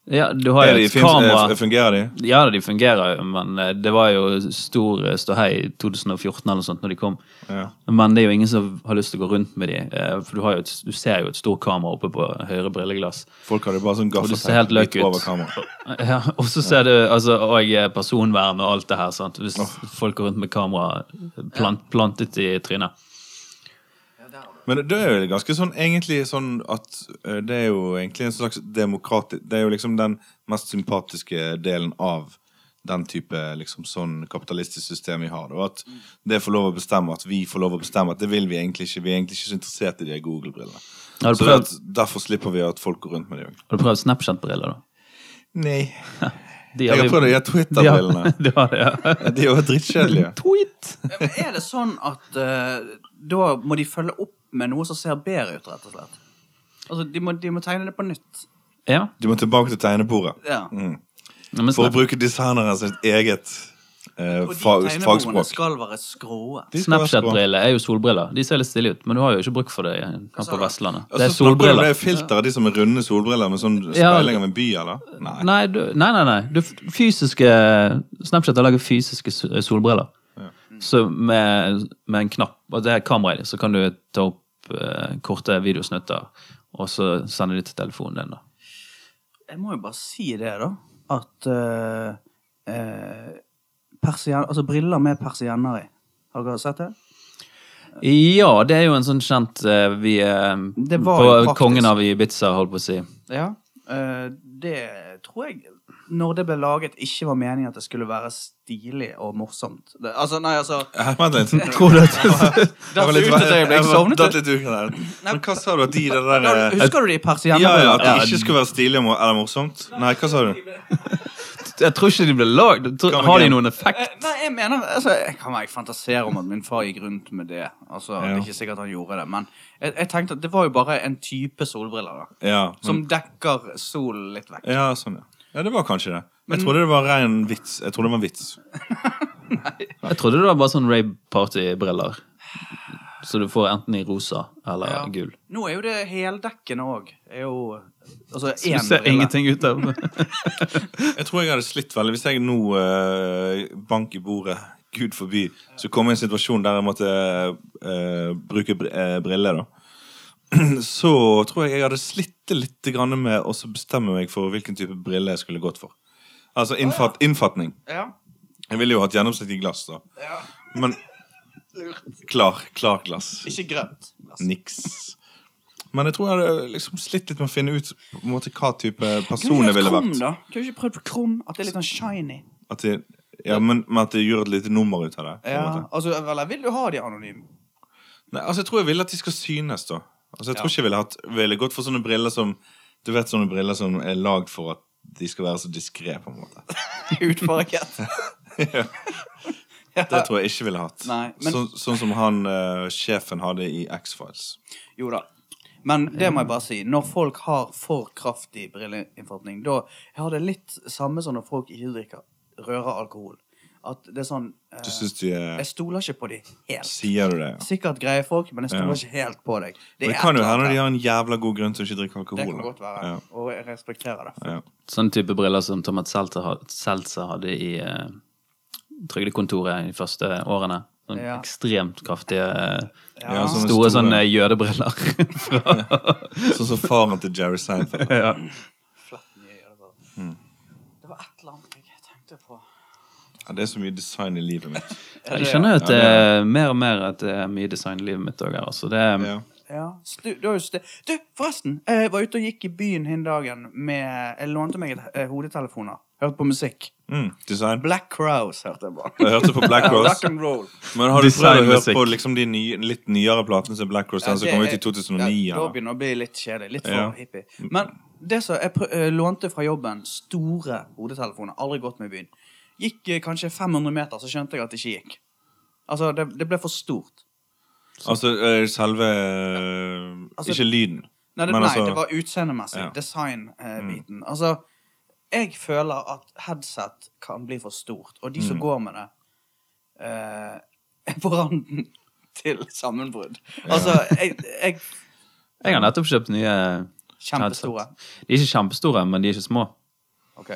Ja, du har
Er
jo
de,
et
fins-
kamera.
eh, fungerer de?
Ja, de fungerer jo, men eh, det var jo stor eh, ståhei i 2014 eller noe sånt når de kom.
Ja.
Men det er jo ingen som har lyst til å gå rundt med de, eh, for du, har jo et, du ser jo et stort kamera oppe på høyre brilleglass.
Folk hadde bare sånn
Og du ser helt
gaffateip
løk
midt over
ut.
kameraet.
Ja, og så ser du altså, og eh, personvern og alt det her. Sant? eh, Hvis folk går rundt med kamera plant, plantet i trynet.
Ja, der har du
Men det er jo ganske sånn egentlig sånn at eh, det er jo egentlig en slags demokratisk Det er jo liksom den mest sympatiske delen av den type liksom sånn kapitalistisk system vi har. Og at det får lov å bestemme at vi får lov å bestemme at det vil vi egentlig ikke. Vi er egentlig ikke så interessert i de Google-brillene.
Har
Så
du
det
prøvd,
at, derfor slipper vi at folk går rundt med de òg.
har du prøvd Snapchat-briller, da?
Nei.
De
Jeg har
vi-
prøvd å gjøre
de har-
Twitter-brillene.
de har det, ja.
De er jo drittkjedelige.
Tweet!
Ja, men Er det sånn at eh, da må de følge opp med noe som ser bedre ut, rett og slett? Altså, de må, de må tegne det på nytt.
Ja.
Du må tilbake til tegnebordet.
Ja.
Mm.
ja, men
For å
Snap,
bruke designeren sitt eget eh,
Og de
fa-
tegnebordene
fagspråk.
skal være skråe.
De skal være skråe.
Snapchat-briller er jo solbriller. De ser litt stille ut, men du har jo ikke bruk for det her
sa
på
du?
Vestlandet.
Og
Det
så Altså, snakker
er
du om
solbriller.
Det er filter av de som er runde solbriller med sånn
Ja.
speiling av en by, eller? Nei.
Nei, du, nei, nei. nei. Du, fysiske, Snapchat har laget fysiske s- solbriller. Så med, med en knapp, og det er kamera i det, så kan du ta opp eh, korte videosnutter, og så sende de til telefonen din. da.
Jeg må jo bare si det, da. At eh, eh, persien, altså briller med persienner i. Har dere sett det?
Ja, det er jo en sånn kjent eh, vi eh,
Det var
På
jo praktisk.
kongen av Ibiza, holdt på å si.
Ja. eh, det tror jeg, når det ble laget, ikke var meningen at det skulle være stilig og morsomt. Det, altså, nei, altså
Hæ, Vent litt.
Tror du at
Jeg var litt- sånn-
datt ut et øyeblikk,
jeg var-
sovnet
datt
du?
litt uken der. Men hva sa du at de det
Da,
der eh,
Husker du de persiennene?
Ja, ja, at
Ja,
det ikke skulle være stilig mo- eller morsomt? Nei, hva sa du?
Jeg tror ikke de ble lagd. Jeg tror-
Kom
Har de
igjen.
noen effekt?
Eh, Nei, jeg mener altså, Jeg kan være jeg fantaserer om at min far gikk rundt med det. Altså, Det er ikke sikkert han gjorde det, men jeg, jeg tenkte at det var jo bare en type solbriller da
Ja, sånn,
som
Mm.
dekker solen litt vekk.
ja sånn, ja. Ja, det var kanskje det. Jeg trodde det var ren vits. Jeg trodde det var vits.
Jeg trodde det var bare sånn rave party-briller. Så du får enten i rosa eller
Ja.
gul.
Nå er jo det heldekkende òg. Altså
Du
én
ser
brille.
ingenting ut av det.
Jeg tror jeg hadde slitt veldig hvis jeg nå eh, bank i bordet, gud forby, så kom jeg i en situasjon der jeg måtte eh, bruke br eh, briller, da. Så tror jeg jeg hadde slitt litt grann med å så bestemme meg for hvilken type brille jeg skulle gått for. Altså innfat innfatning.
Ja.
Jeg ville jo hatt gjennomsiktig glass, da.
ja.
Men klar, klar glass.
Ikke grønt.
Niks. Men jeg tror jeg hadde liksom slitt litt med å finne ut på en måte, hva type person jeg ville
krum,
vært.
da? Kunne du ikke prøvd på krum? At det er litt sånn shiny?
At det, ja, men, men at det gjør et lite nummer ut av det. på en måte.
altså, Eller vil du ha de anonyme?
Nei, altså Jeg tror jeg ville at de skal synes, da. Altså Jeg tror ikke jeg ville, hatt, ville gått for sånne briller som Du vet sånne briller som er lagd for at de skal være så diskré, på en måte.
Utfarget.
Det tror jeg ikke ville hatt.
Nei, men-
sånn, sånn som han eh, sjefen hadde i X-Files.
Jo da. Men det
Mm.
må jeg bare si. Når folk har for kraftig brilleinnfatning, da Jeg har det litt samme som når folk ikke drikker rører alkohol. At det er sånn eh,
Du syns de er
Jeg stoler ikke på de helt.
Sier du det? ja?
Sikkert greie folk, men jeg stoler
Ja.
ikke helt på deg.
Det,
er
kan
et
jo
eller
hende
annet
de
her.
har en jævla god grunn til å ikke drikke alkohol.
Det kan
da.
godt være.
Ja,
Og jeg respekterer det.
ja.
Sånn type briller som Thomas Seltzer had- Seltzer hadde i eh, Trygdekontoret de første årene. Sånn
Ja.
Ekstremt kraftige, eh,
Ja.
Ja, sånne
store,
store.
sånne jødebriller.
Sånn som faren til Jerry Seinfeld.
ja.
Fletten i øyet, det var- Det var et eller annet jeg tenkte på.
Ja, det er så mye design i livet mitt.
Jeg skjønner jo at det er mer og mer at det er mye design i livet mitt òg. Altså. Det er-
Ja.
Ja, stu, du, har jo ste- du, forresten. Jeg var ute og gikk i byen hin dagen med Jeg lånte meg et eh, hodetelefoner. Hørte på musikk.
Mm, design.
Black Crowes hørte jeg på.
Jeg hørte på Black Rose.
Rock and roll.
Men har du prøvd å høre
Designmusikk.
på liksom de nye, litt nyere platene som Black Rose
Ja,
den Sånn som
det
kom ut
er-
i 2009?
Ja, da
eller?
begynner det å bli litt kjedelig. Litt for
Ja.
hippie. Men det som jeg prø eh, lånte fra jobben, store hodetelefoner, aldri gått med i byen, gikk eh, kanskje 500 meter, så skjønte jeg at det ikke gikk. Altså, det, det ble for stort.
Altså eh, selve eh,
Altså-
Ikke lyden.
Nei, det,
Men
nei,
altså-
det var utseendemessig.
Ja. Mm.
Design-biten. Altså, jeg føler at headset kan bli for stort, og de
Mm.
som går med det, eh, er på randen til sammenbrudd. Altså, jeg, jeg
Jeg har nettopp kjøpt nye
Kjempestore.
headset. De er ikke kjempestore, men de er ikke små.
OK.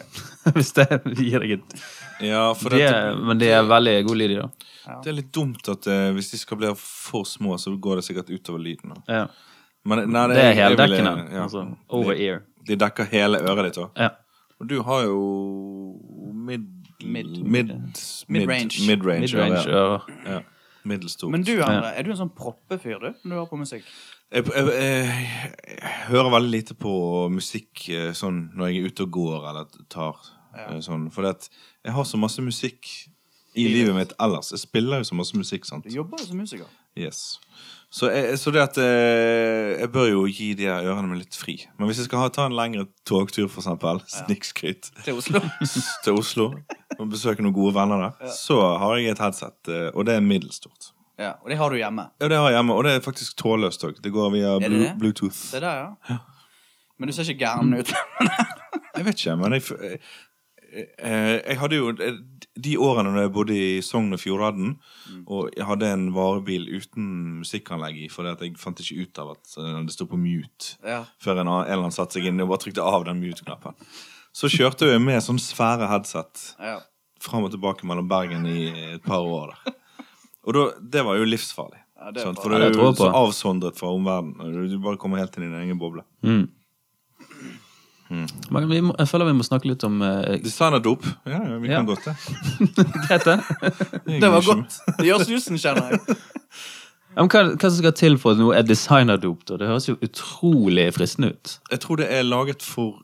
Hvis det gir deg et
Ja, for
de er,
dette,
Men de er veldig god lyd i, da.
det er litt dumt at eh, hvis de skal bli for små, så går det sikkert utover lyden. da.
Ja.
Men, nei,
Det er
jeg- jeg ville-
heldekkende.
ja.
Altså over
de,
ear.
de dekker hele øret ditt òg.
Ja.
Og du har jo mid...
Mid-
mid, mid
Mid-range.
Mid-range. ja,
Midrange
det er det.
ører.
Ja. Middels stort.
Men du, Andre, er du en sånn proppefyr, du, når du hører på musikk?
Jeg, jeg, jeg, jeg hører veldig lite på musikk eh, sånn når jeg er ute og går eller tar
Ja.
eh, sånn. For at jeg har så masse musikk i livet mitt ellers. Jeg spiller jo så masse musikk, sant.
Du jobber jo som musiker.
Yes. Så, jeg, så det at eh, jeg bør jo gi de her ørene mine litt fri. Men hvis jeg skal ha, ta en lengre togtur, for eksempel, snikskryt
Til Oslo.
til Oslo og besøke noen gode venner der, så har jeg et headset, eh, og det er middels stort.
Ja, Og det har du hjemme.
Ja, det har jeg hjemme, og det er faktisk trådløst òg. Det går via
det
blu
det?
Bluetooth.
Se der, ja. Men du ser ikke gæren ut.
Jeg vet ikke, men jeg, f- eh, eh, jeg hadde jo eh, De årene da jeg bodde i Sogn og Fjordane,
Mm.
og jeg hadde en varebil uten musikkanlegg i, fordi at jeg fant ikke ut av at eh, det sto på mute,
Ja.
før en, annen- en eller annen satte seg inn og bare trykte av den mute-knappen. Så kjørte jeg med sånn svære headset
Ja.
fram og tilbake mellom Bergen i et par år. Da. Og da, det var jo livsfarlig.
Ja, det er
sant?
bra.
For
Ja,
du
det
er
tror
jo
jeg på.
så avsondret fra omverdenen. og Du du bare kommer helt inn i din egen boble.
Men vi må, jeg føler vi må snakke litt om eh,
Designerdop. Ja, ja, vi
Ja.
kan godt det.
Grete.
er
Det var
ikke-
godt. Det gjør susen, kjenner jeg.
Ja, men Hva, hva som skal til for at noe er designerdopt? og Det høres jo utrolig fristende ut.
Jeg tror det er laget for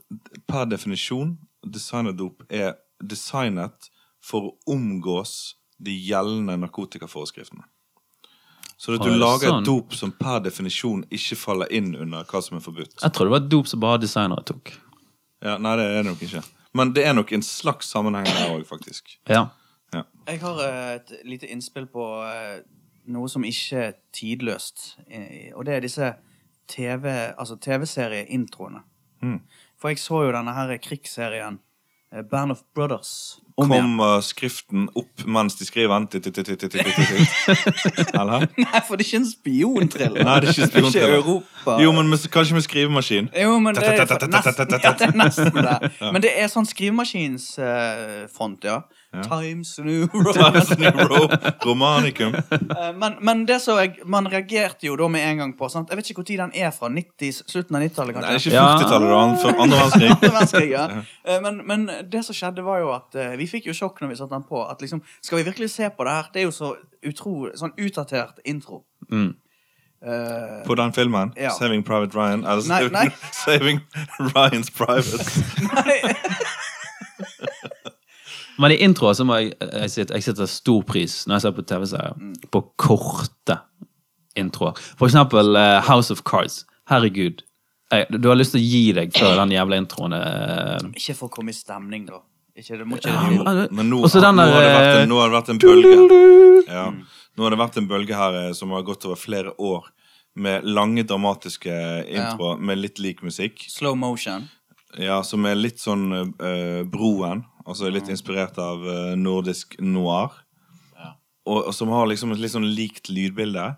Per definisjon, designerdop er designet for å omgås de gjeldende narkotikaforeskriftene. Så at du
Ah, er det
lager
sånn?
et dop som per definisjon ikke faller inn under hva som er forbudt.
Jeg tror det var dop som bare designere tok.
Ja, nei, det er det nok ikke. Men det er nok en slags sammenheng der òg, faktisk.
Ja.
Ja.
Jeg har eh, et lite innspill på eh, noe som ikke er tidløst. eh, Og det er disse TV, altså TV-serieintroene.
Mm.
For jeg så jo denne her krigsserien eh, Band of Brothers. Om igjen.
Kommer skriften opp mens de skriver den? Titt, titt, titt, titt, titt, titt, titt. Eller?
Nei, for det er ikke en spionthriller.
Nei, det er ikke spionthriller.
Europa.
Jo, men med, kanskje med skrivemaskin.
Jo, men det er nesten, ja,
Ta-ta-ta-ta-ta-ta-ta-ta.
det. Er nesten det. Men det er sånn skrivemaskinsfront, ja. Times New Roman.
Romanikum.
Eh, men, men det så jeg, man reagerte jo da med en gang på sant? Jeg vet ikke når den er fra. 90, slutten av 90-tallet,
Nei, det er ikke
kanskje?
Ja.
40-tallet, da. han- før Andre verdenskrig.
Andre verdenskrig, ja. Eh, Men, men det som skjedde, var jo at eh, vi fikk jo sjokk når vi satte den på. At liksom, Skal vi virkelig se på det her? Det er jo så utro, sånn utdatert intro.
Mm.
Eh,
På den filmen.
Ja.
'Saving Private Ryan'. Eller
Nei, nei.
'Saving Ryan's Private'.
nei,
Men i introen så må jeg, jeg, sitter, jeg setter stor pris når jeg ser på TV-serier, på korte introer. For eksempel eh, House of Cards. Herregud. Jeg, du har lyst til å gi deg før den jævla introen eh,
ikke for å komme i stemning, da. Ikke, det må ikke
Ja, men-
Men nå,
Og så den
nå, har det
der, eh,
vært en, nå har det vært en bølge. Ja. Nå har det vært en bølge her eh, som har gått over flere år. Med lange, dramatiske introer med litt lik musikk.
Slow motion.
Ja, Som er litt sånn eh, Broen. Altså
Mm.
litt inspirert av eh, nordisk noir. Og, og som har liksom et litt sånn likt lydbilde.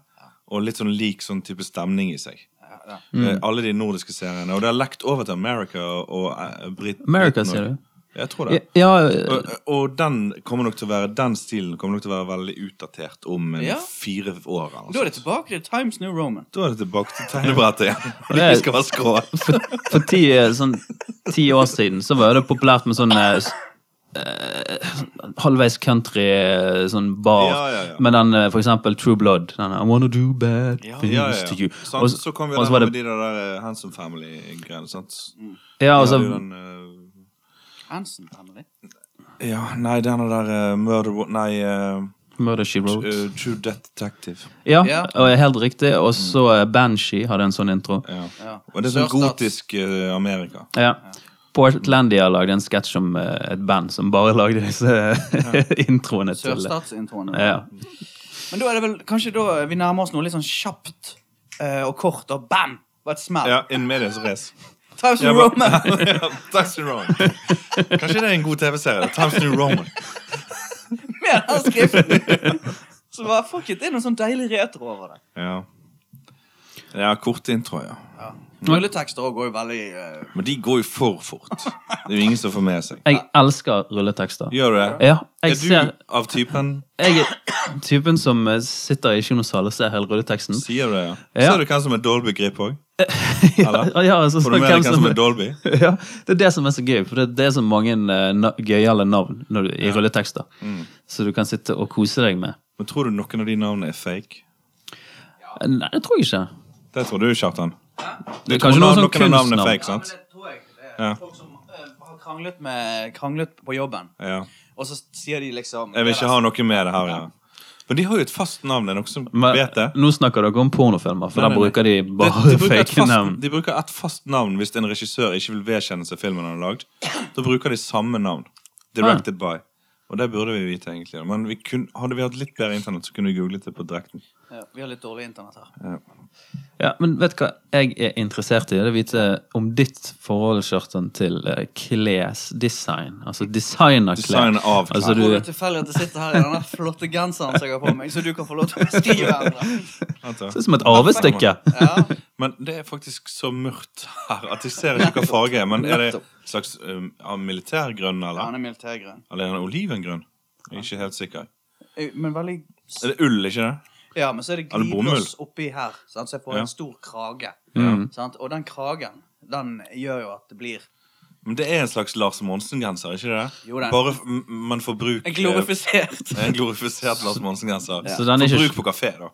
Og litt sånn lik sånn type stemning i seg.
Ja, ja.
Mm.
Eh, Alle de nordiske seriene. Og det har lekt over til America og eh, Brit...
America,
Briten også.
sier du?
Jeg tror det.
Ja, ja,
Og, og den kommer nok til å være Den stilen kommer nok til å være veldig utdatert om en
Ja.
fire år. eller noe
Da er det
sånt.
tilbake til Times New Roman.
da er det tilbake til tegnebrettet igjen.
det er-
Vi skal være skrå.
for, for ti, sånn, ti år siden så var det populært med sånn eh, s- eh, halvveis country eh, sånn bar.
Ja, ja, ja.
Med den eh, for eksempel True Blood. Den der, I wanna do bad
Ja,
things
Ja, ja,
to
ja.
you.
Sant,
Og s-
så kom vi
og
der
så var
med
det, Mm.
de der eh, Handsome Family-greiene. sant?
ja,
Ja,
og så,
det er jo den, eh,
Hansen, Emily.
ja, nei, den der eh, Murder Wo- Nei, eh,
Murder She Wrote.
eh, True Death Detective.
Ja,
Ja.
og helt riktig. Og så eh, Banshee hadde en sånn intro.
Mm. Ja.
Ja.
Og det er sånn
Sørstats.
gotisk eh, Amerika.
Ja. Portlandia lagde en sketsj om eh, et band som bare lagde disse introene til
Sørstatsintroen.
ja.
Men da er det vel kanskje da vi nærmer oss noe litt sånn kjapt eh, og kort, og bam! Bare et smell.
Ja, In medias race.
Times
Ja,
New
men-
Roman.
Ja, Times New Roman. Kanskje det er en god TV-serie. Times New Roman.
Med den skriften. Så bare fuck it, det er noe sånn deilig retro over det.
Ja. ja, korte introer, ja.
Ja.
Mm.
Rulletekster også går jo veldig eh,
Men de går jo for fort. Det er jo ingen som får med seg.
Jeg elsker rulletekster.
Gjør du det?
Ja, jeg
er du
ser
av typen
Jeg er typen som eh, sitter i kinosalen og ser hele rulleteksten.
Sier du det, ja?
Ja.
Ser du hvem som er Dolby-grip òg?
Ja, ja, altså,
Får du med
hvem
deg hvem som er Dolby?
ja, det er det som er så gøy, for det, det er Mm. så mange eh, na gøyale navn når du, i rulletekster. Så du kan sitte og kose deg med.
Men tror du noen av de navnene er fake?
Nei, det tror jeg ikke.
Det tror du, Kjartan. Du
Det
tror
er kanskje
noen,
noe
av- noen
sånn
av navnene er
kunstnavn.
fake, sant?
Ja, men det tror jeg. Det er
Ja.
Folk som eh, har kranglet, med, kranglet på jobben,
Ja.
og så sier de liksom
Jeg vil ikke ha noe med det her. Ja. Men de har jo et fast navn. Er det noen som
Men,
vet det?
nå snakker dere om pornofilmer, for
Nei, nei,
da
nei.
bruker de bare
de, de bruker et
fake
fast,
navn.
De bruker et fast navn hvis en regissør ikke vil vedkjenne seg filmen han har lagd. Da bruker de samme navn. Directed by. Og det burde vi vite, egentlig. Men vi kun, hadde vi hatt litt bedre internett, så kunne vi googlet det på direkten.
Ja, Vi har litt dårlig internett her.
Ja, men vet du hva jeg er interessert i? Det er å vite om ditt forhold, Kjartan, til eh, klesdesign. Altså designerklær.
Design av klær.
Altså,
Du...
du,
Og det er tilfeldig at jeg sitter her i denne flotte genseren som jeg har på meg, så du kan få lov til å beskrive den.
Vent da.
det er som et arvestykke.
Ja.
Men det er faktisk så mørkt her at jeg ser ikke hva farge er. Men er det en slags um, av militærgrønn,
Han
eller?
er militærgrønn.
Eller er det olivengrønn? Jeg er ikke helt sikker.
Eh, Men veldig
Er det ull, ikke det?
Ja, men så er det
Eller bomull.
glidelås oppi her, sant? så jeg får
Ja.
en stor krage.
Mm.
Sant? Og den kragen, den gjør jo at det blir
Men det er en slags Lars Monsen-genser, ikke det?
Jo, det er-
Bare f- m- man får bruk eh,
En glorifisert
En glorifisert Lars Monsen-genser.
Så den er
For
ikke-
bruk på kafé, da.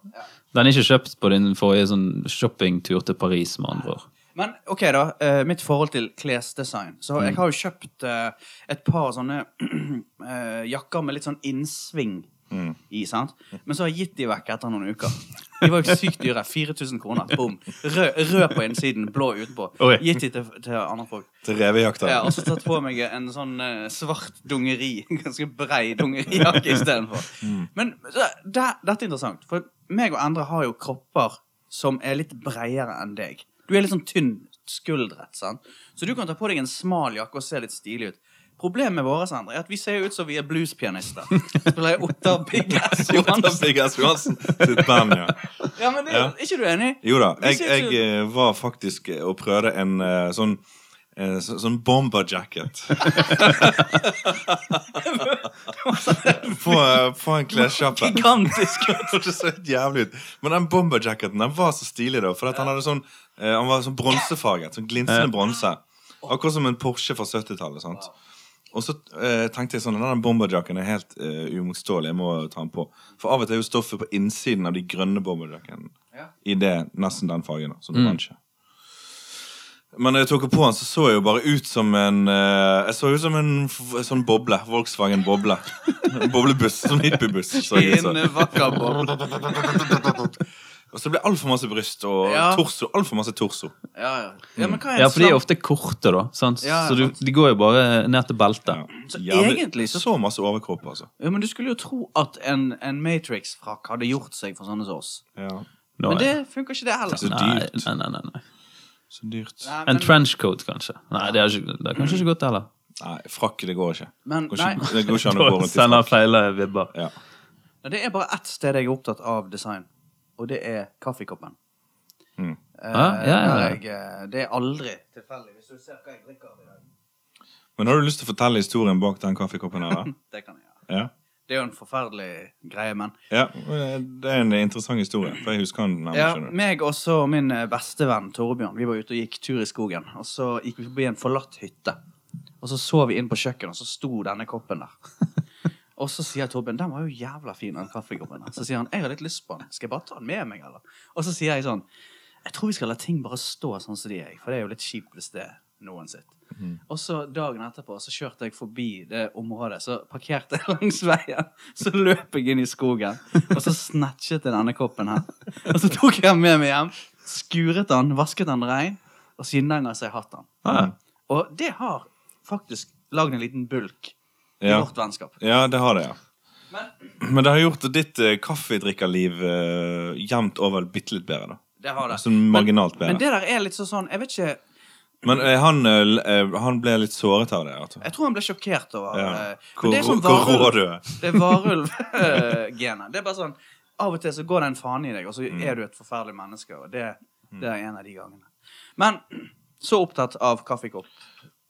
Den er ikke kjøpt på din forrige sånn shoppingtur til Paris, med andre ord.
Men ok, da. eh, mitt forhold til klesdesign. Så
Mm.
jeg har jo kjøpt eh, et par sånne eh, jakker med litt sånn innsving
Mm.
i, sant. Men så har jeg gitt de vekk etter noen uker. De var jo sykt dyre. 4000 kroner. Bom. Rød, rød på innsiden, blå utenpå.
Oi.
Gitt de til, til andre folk.
Til revejakta.
Jeg har også tatt på meg en sånn eh, svart dungeri. en Ganske brei dungerijakke istedenfor. Men så, det, dette er interessant, for meg og Endre har jo kropper som er litt breiere enn deg. Du er litt sånn tynn skuldret, sant? så du kan ta på deg en smal jakke og se litt stilig ut. Problemet vårt Endre, er at vi ser jo ut som vi er bluespianister. Spiller jeg Ottar Big Ass
Johannes
Johansen?
Stig S. Johansen sitt band, ja.
Ja, men det,
Ja.
er ikke du enig?
Jo da.
Vi
Jeg,
ser
jeg
ikke-
eh, var faktisk eh, og prøvde en eh, sånn eh, så- Sånn bomber jacket. på, eh, på en klessjappe.
Gigantisk.
Det hørtes så helt jævlig ut. Men den bomber jacketen den var så stilig, da. For at han hadde sånn eh, Han var sånn bronsefarget. Sånn glinsende bronse. Akkurat som en Porsche fra 70-tallet. sant? Og så eh, tenkte jeg sånn Den bomberjacken er helt eh, uimotståelig. Jeg må ta den på. For av og til er jo stoffet på innsiden av de grønne bomberjackene
Ja. Mm.
i det nesten den fargen. da, Som oransje. Men når jeg tok på den, så så jeg jo bare ut som en eh, Jeg så ut som en f- sånn boble. Volkswagen boble. En Boblebuss. Sånn hippiebuss. så jeg ut som.
En vakker boble.
Og så ble det altfor masse bryst og
Ja.
torso. Altfor masse torso.
Ja, ja. ja, men hva er en
Ja, for de er
slam?
ofte korte, da. Sant?
Ja, ja,
så du,
sant.
de går jo bare ned til beltet.
Så
Jævlig-
egentlig så-
så masse overkropp, altså.
Ja, men du skulle jo tro at en, en Matrix-frakk hadde gjort seg for sånne som oss.
Ja.
Nå
Men
er-
det funker ikke, det heller.
så
nei,
dyrt.
nei, nei, nei, nei.
Så dyrt.
Nei,
En
men,
trenchcoat, kanskje. Nei, det er, ikke, det er kanskje ikke godt, heller.
Nei, frakk, det går ikke.
Men,
går
nei.
ikke det går ikke an å gå
Da
rundt i
sender
frakk.
feil eh, vibber.
Ja.
Nei, det er bare ett sted jeg er opptatt av design, og det er kaffekoppen.
Mm.
Eh,
Ja, ja, ja, ja.
der Jeg, eh, det er aldri tilfeldig. Hvis du ser hva jeg drikker av i dag,
Men har du lyst til å fortelle historien bak den kaffekoppen her? da?
det kan jeg gjøre.
Ja.
Det er jo en forferdelig greie, men
ja. Det er en interessant historie, for jeg husker den nærmere.
Ja,
skjønner du.
meg og så min eh, bestevenn Torbjørn Vi var ute og gikk tur i skogen. Og så gikk vi forbi en forlatt hytte. Og så så vi inn på kjøkkenet, og så sto denne koppen der. Og så sier Torbjørn den var jo jævla fin, den kaffekoppen. der. Så sier han jeg har litt lyst på den. Skal jeg bare ta den med meg, eller? Og så sier jeg sånn Jeg tror vi skal la ting bare stå sånn som de er. For det er jo litt kjipt hvis det er noen sitt.
Mhm.
Og så dagen etterpå så kjørte jeg forbi det området. Så parkerte jeg langs veien. Så løp jeg inn i skogen, og så snatchet jeg denne koppen her. Og så tok jeg den med meg hjem, skuret den, vasket den rein, og siden den gang så har jeg hatt den.
Ja.
Mm.
Og det har faktisk lagd en liten bulk i
Ja.
vårt vennskap.
Ja, det har det, ja.
Men
Men det har gjort ditt eh, kaffedrikkerliv eh, jevnt over bitte litt bedre, da.
det har det.
Altså marginalt bedre.
Men, men det der er litt så sånn Jeg vet ikke
Men eh, han, eh, l- eh, han ble litt såret av det. Altså.
Jeg tror han ble sjokkert over
Ja.
eh, men
Hvor,
det er sånn
hvor
varulv-
rå du er.
Det er varulv-genet. Det er bare sånn Av og til så går det en fane i deg, og så
Mm.
er du et forferdelig menneske. Og det, det er en av de gangene. Men så opptatt av kaffekopp.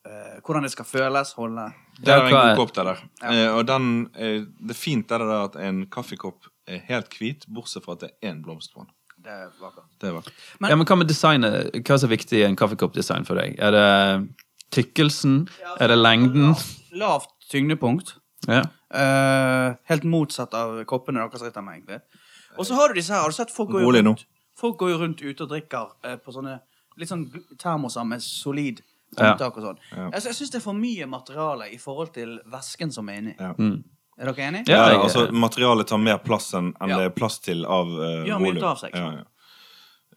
Eh, hvordan det skal føles, holde
Det er
Ja,
en
hva er-
god kopp, det der. Eh, og den, eh, det er fint er det der at en kaffekopp er helt hvit, bortsett fra at det er én blomst på den.
Det er vakkert.
Det er vakkert.
Men-
ja, men hva med designet? Hva er så viktig i en kaffekoppdesign for deg? Er det tykkelsen? Er det lengden?
Lavt tyngdepunkt.
Ja.
Eh, helt motsatt av koppene deres ritter meg, egentlig. Og så har du disse her. Har du sett folk går jo
Rolig nå.
rundt, folk går jo rundt ute og drikker eh, på sånne litt sånn gl- termoser med solid
Ja.
håndtak og sånn. Jeg, jeg syns det er for mye materiale i forhold til væsken som er inni.
Ja.
Er dere enige?
Ja,
Ja,
jeg-
altså Materialet tar mer plass enn enn
Ja.
det er plass til av uh,
Gjør mye ut av seg, ikke
Ja,
sant?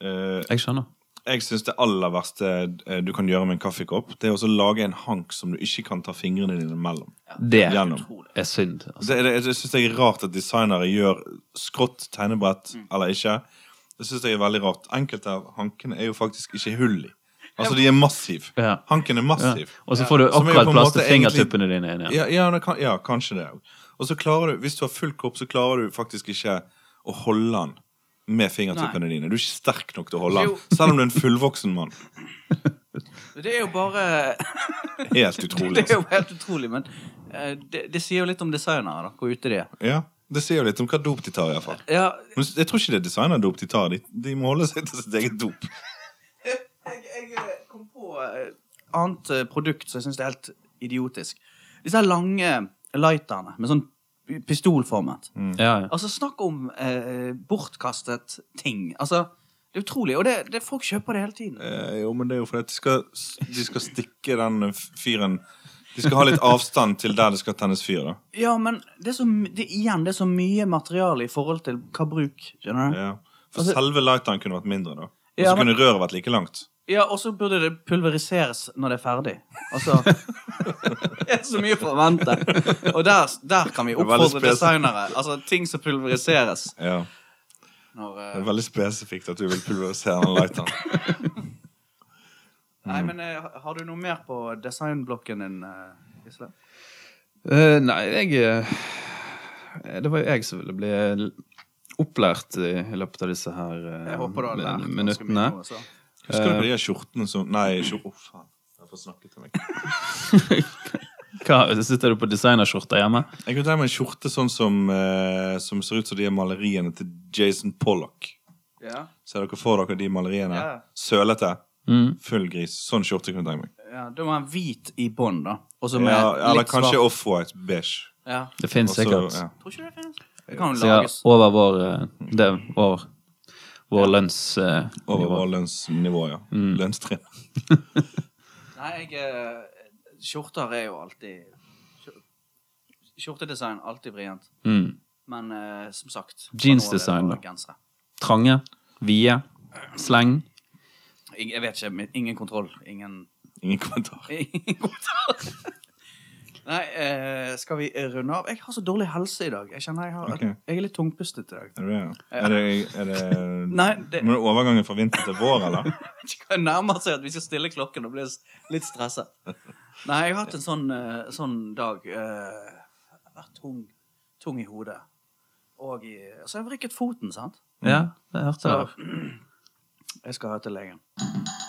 ja. Eh,
Jeg skjønner.
jeg syns det aller verste eh, du kan gjøre med en kaffekopp, det er også å lage en hank som du ikke kan ta fingrene dine mellom.
Det
Gjennom.
er synd. Altså.
Det, det, jeg syns det er rart at designere gjør skrått tegnebrett
Mm.
eller ikke. Det syns jeg er veldig rart. Enkelte av hankene er jo faktisk ikke hull i. Altså, de er massive.
Ja.
Hanken er
Ja.
massiv.
Og så får du
Som er jo på
akkurat
en
plass til
måte
fingertuppene dine. igjen, Ja.
Ja, ja, det kan, ja kanskje det. Og så klarer du, hvis du har full kopp, så klarer du faktisk ikke å holde den med fingertuppene dine. Du er ikke sterk nok til å holde den,
Jo.
selv om du er en fullvoksen mann.
Det er jo bare
Helt utrolig.
Det er jo helt utrolig, men eh, det, det sier jo litt om designere, da, hvor ute de er.
Ja, Det sier jo litt om hva dop de tar, iallfall.
Ja,
Men jeg tror ikke det er designerdop de tar. De, de må holde seg til sitt eget dop.
jeg, jeg eh, kom på et annet eh, produkt som jeg syns er helt idiotisk. Disse her lange lighterne med sånn pistolformet.
Mm.
Ja, ja.
Altså, snakk om eh, bortkastet ting. Altså, det er utrolig. Og det, det folk kjøper det hele tiden.
Eh, jo, men det er jo fordi at de skal, de skal stikke den fyren De skal ha litt avstand til der det skal tennes fyr, da.
Ja, men det er så, m- det, igjen, det er så mye materiale i forhold til hva bruk. Skjønner du?
Ja. For
Altså-
selve lighteren kunne vært mindre, da. Og så
Ja, men-
kunne røret vært like langt.
Ja, og så burde det pulveriseres når det er ferdig. Altså Det er så mye for å vente. Og der, der kan vi
er veldig
oppfordre
spesifikt.
designere. Altså ting som pulveriseres.
Ja.
Når, eh,
Det er veldig spesifikt at du vil pulverisere den lighteren.
Nei, men eh, har du noe mer på designblokken din, eh, Gisle?
Eh, nei, jeg eh, Det var jo jeg som ville bli opplært i, i løpet av disse her eh,
Jeg håper du har lært
min-
ganske mye
minuttene.
nå. altså. Så.
Husker
Eh.
du på de her skjortene som Nei, skjor- Å, faen. Jeg får snakke til meg.
Hva, sitter du på designerskjorta hjemme?
Jeg kunne tenke meg en skjorte sånn som, eh, som ser ut som de maleriene til Jason Pollock.
Ja,
Ser dere for dere de maleriene?
Ja.
Sølete.
Mm.
Full gris. Sånn skjorte kunne jeg tenke meg.
ja, Da må han hvit i bånn, da. Og så med
Ja, eller
litt
kanskje
svart.
offwhite beige.
Ja.
Det fins
Også-
sikkert.
ja.
Tror ikke det finnes. Det kan jo
Så ja,
lages.
over vår eh, Det er vår, vår eh, lønnsnivå.
Over vår lønnsnivå, ja. Lønnstrinn.
Nei, jeg eh, Skjorter er jo alltid skjor- Skjortedesign alltid vrient.
mm.
Men eh, som sagt
Jeansdesign,
nå er det
da.
bare gensere.
Trange, vide, sleng.
Jeg, jeg vet ikke. men Ingen kontroll. Ingen,
Ingen kommentar.
ingen kontroll. Nei, eh, skal vi runde av? Jeg har så dårlig helse i dag. Jeg kjenner jeg, har,
Ok.
jeg er litt tungpustet i dag.
Er det, er det, er det
Nei, det
Men overgangen fra vinter til vår, eller?
det nærmer seg at vi skal stille klokken og bli s- litt stresset. Nei, jeg har hatt en sånn, eh, sånn dag. eh, Jeg har vært tung, tung i hodet. Og i, Mm. så har jeg vrikket foten, sant?
Ja, jeg hørte det.
Jeg skal høre til legen.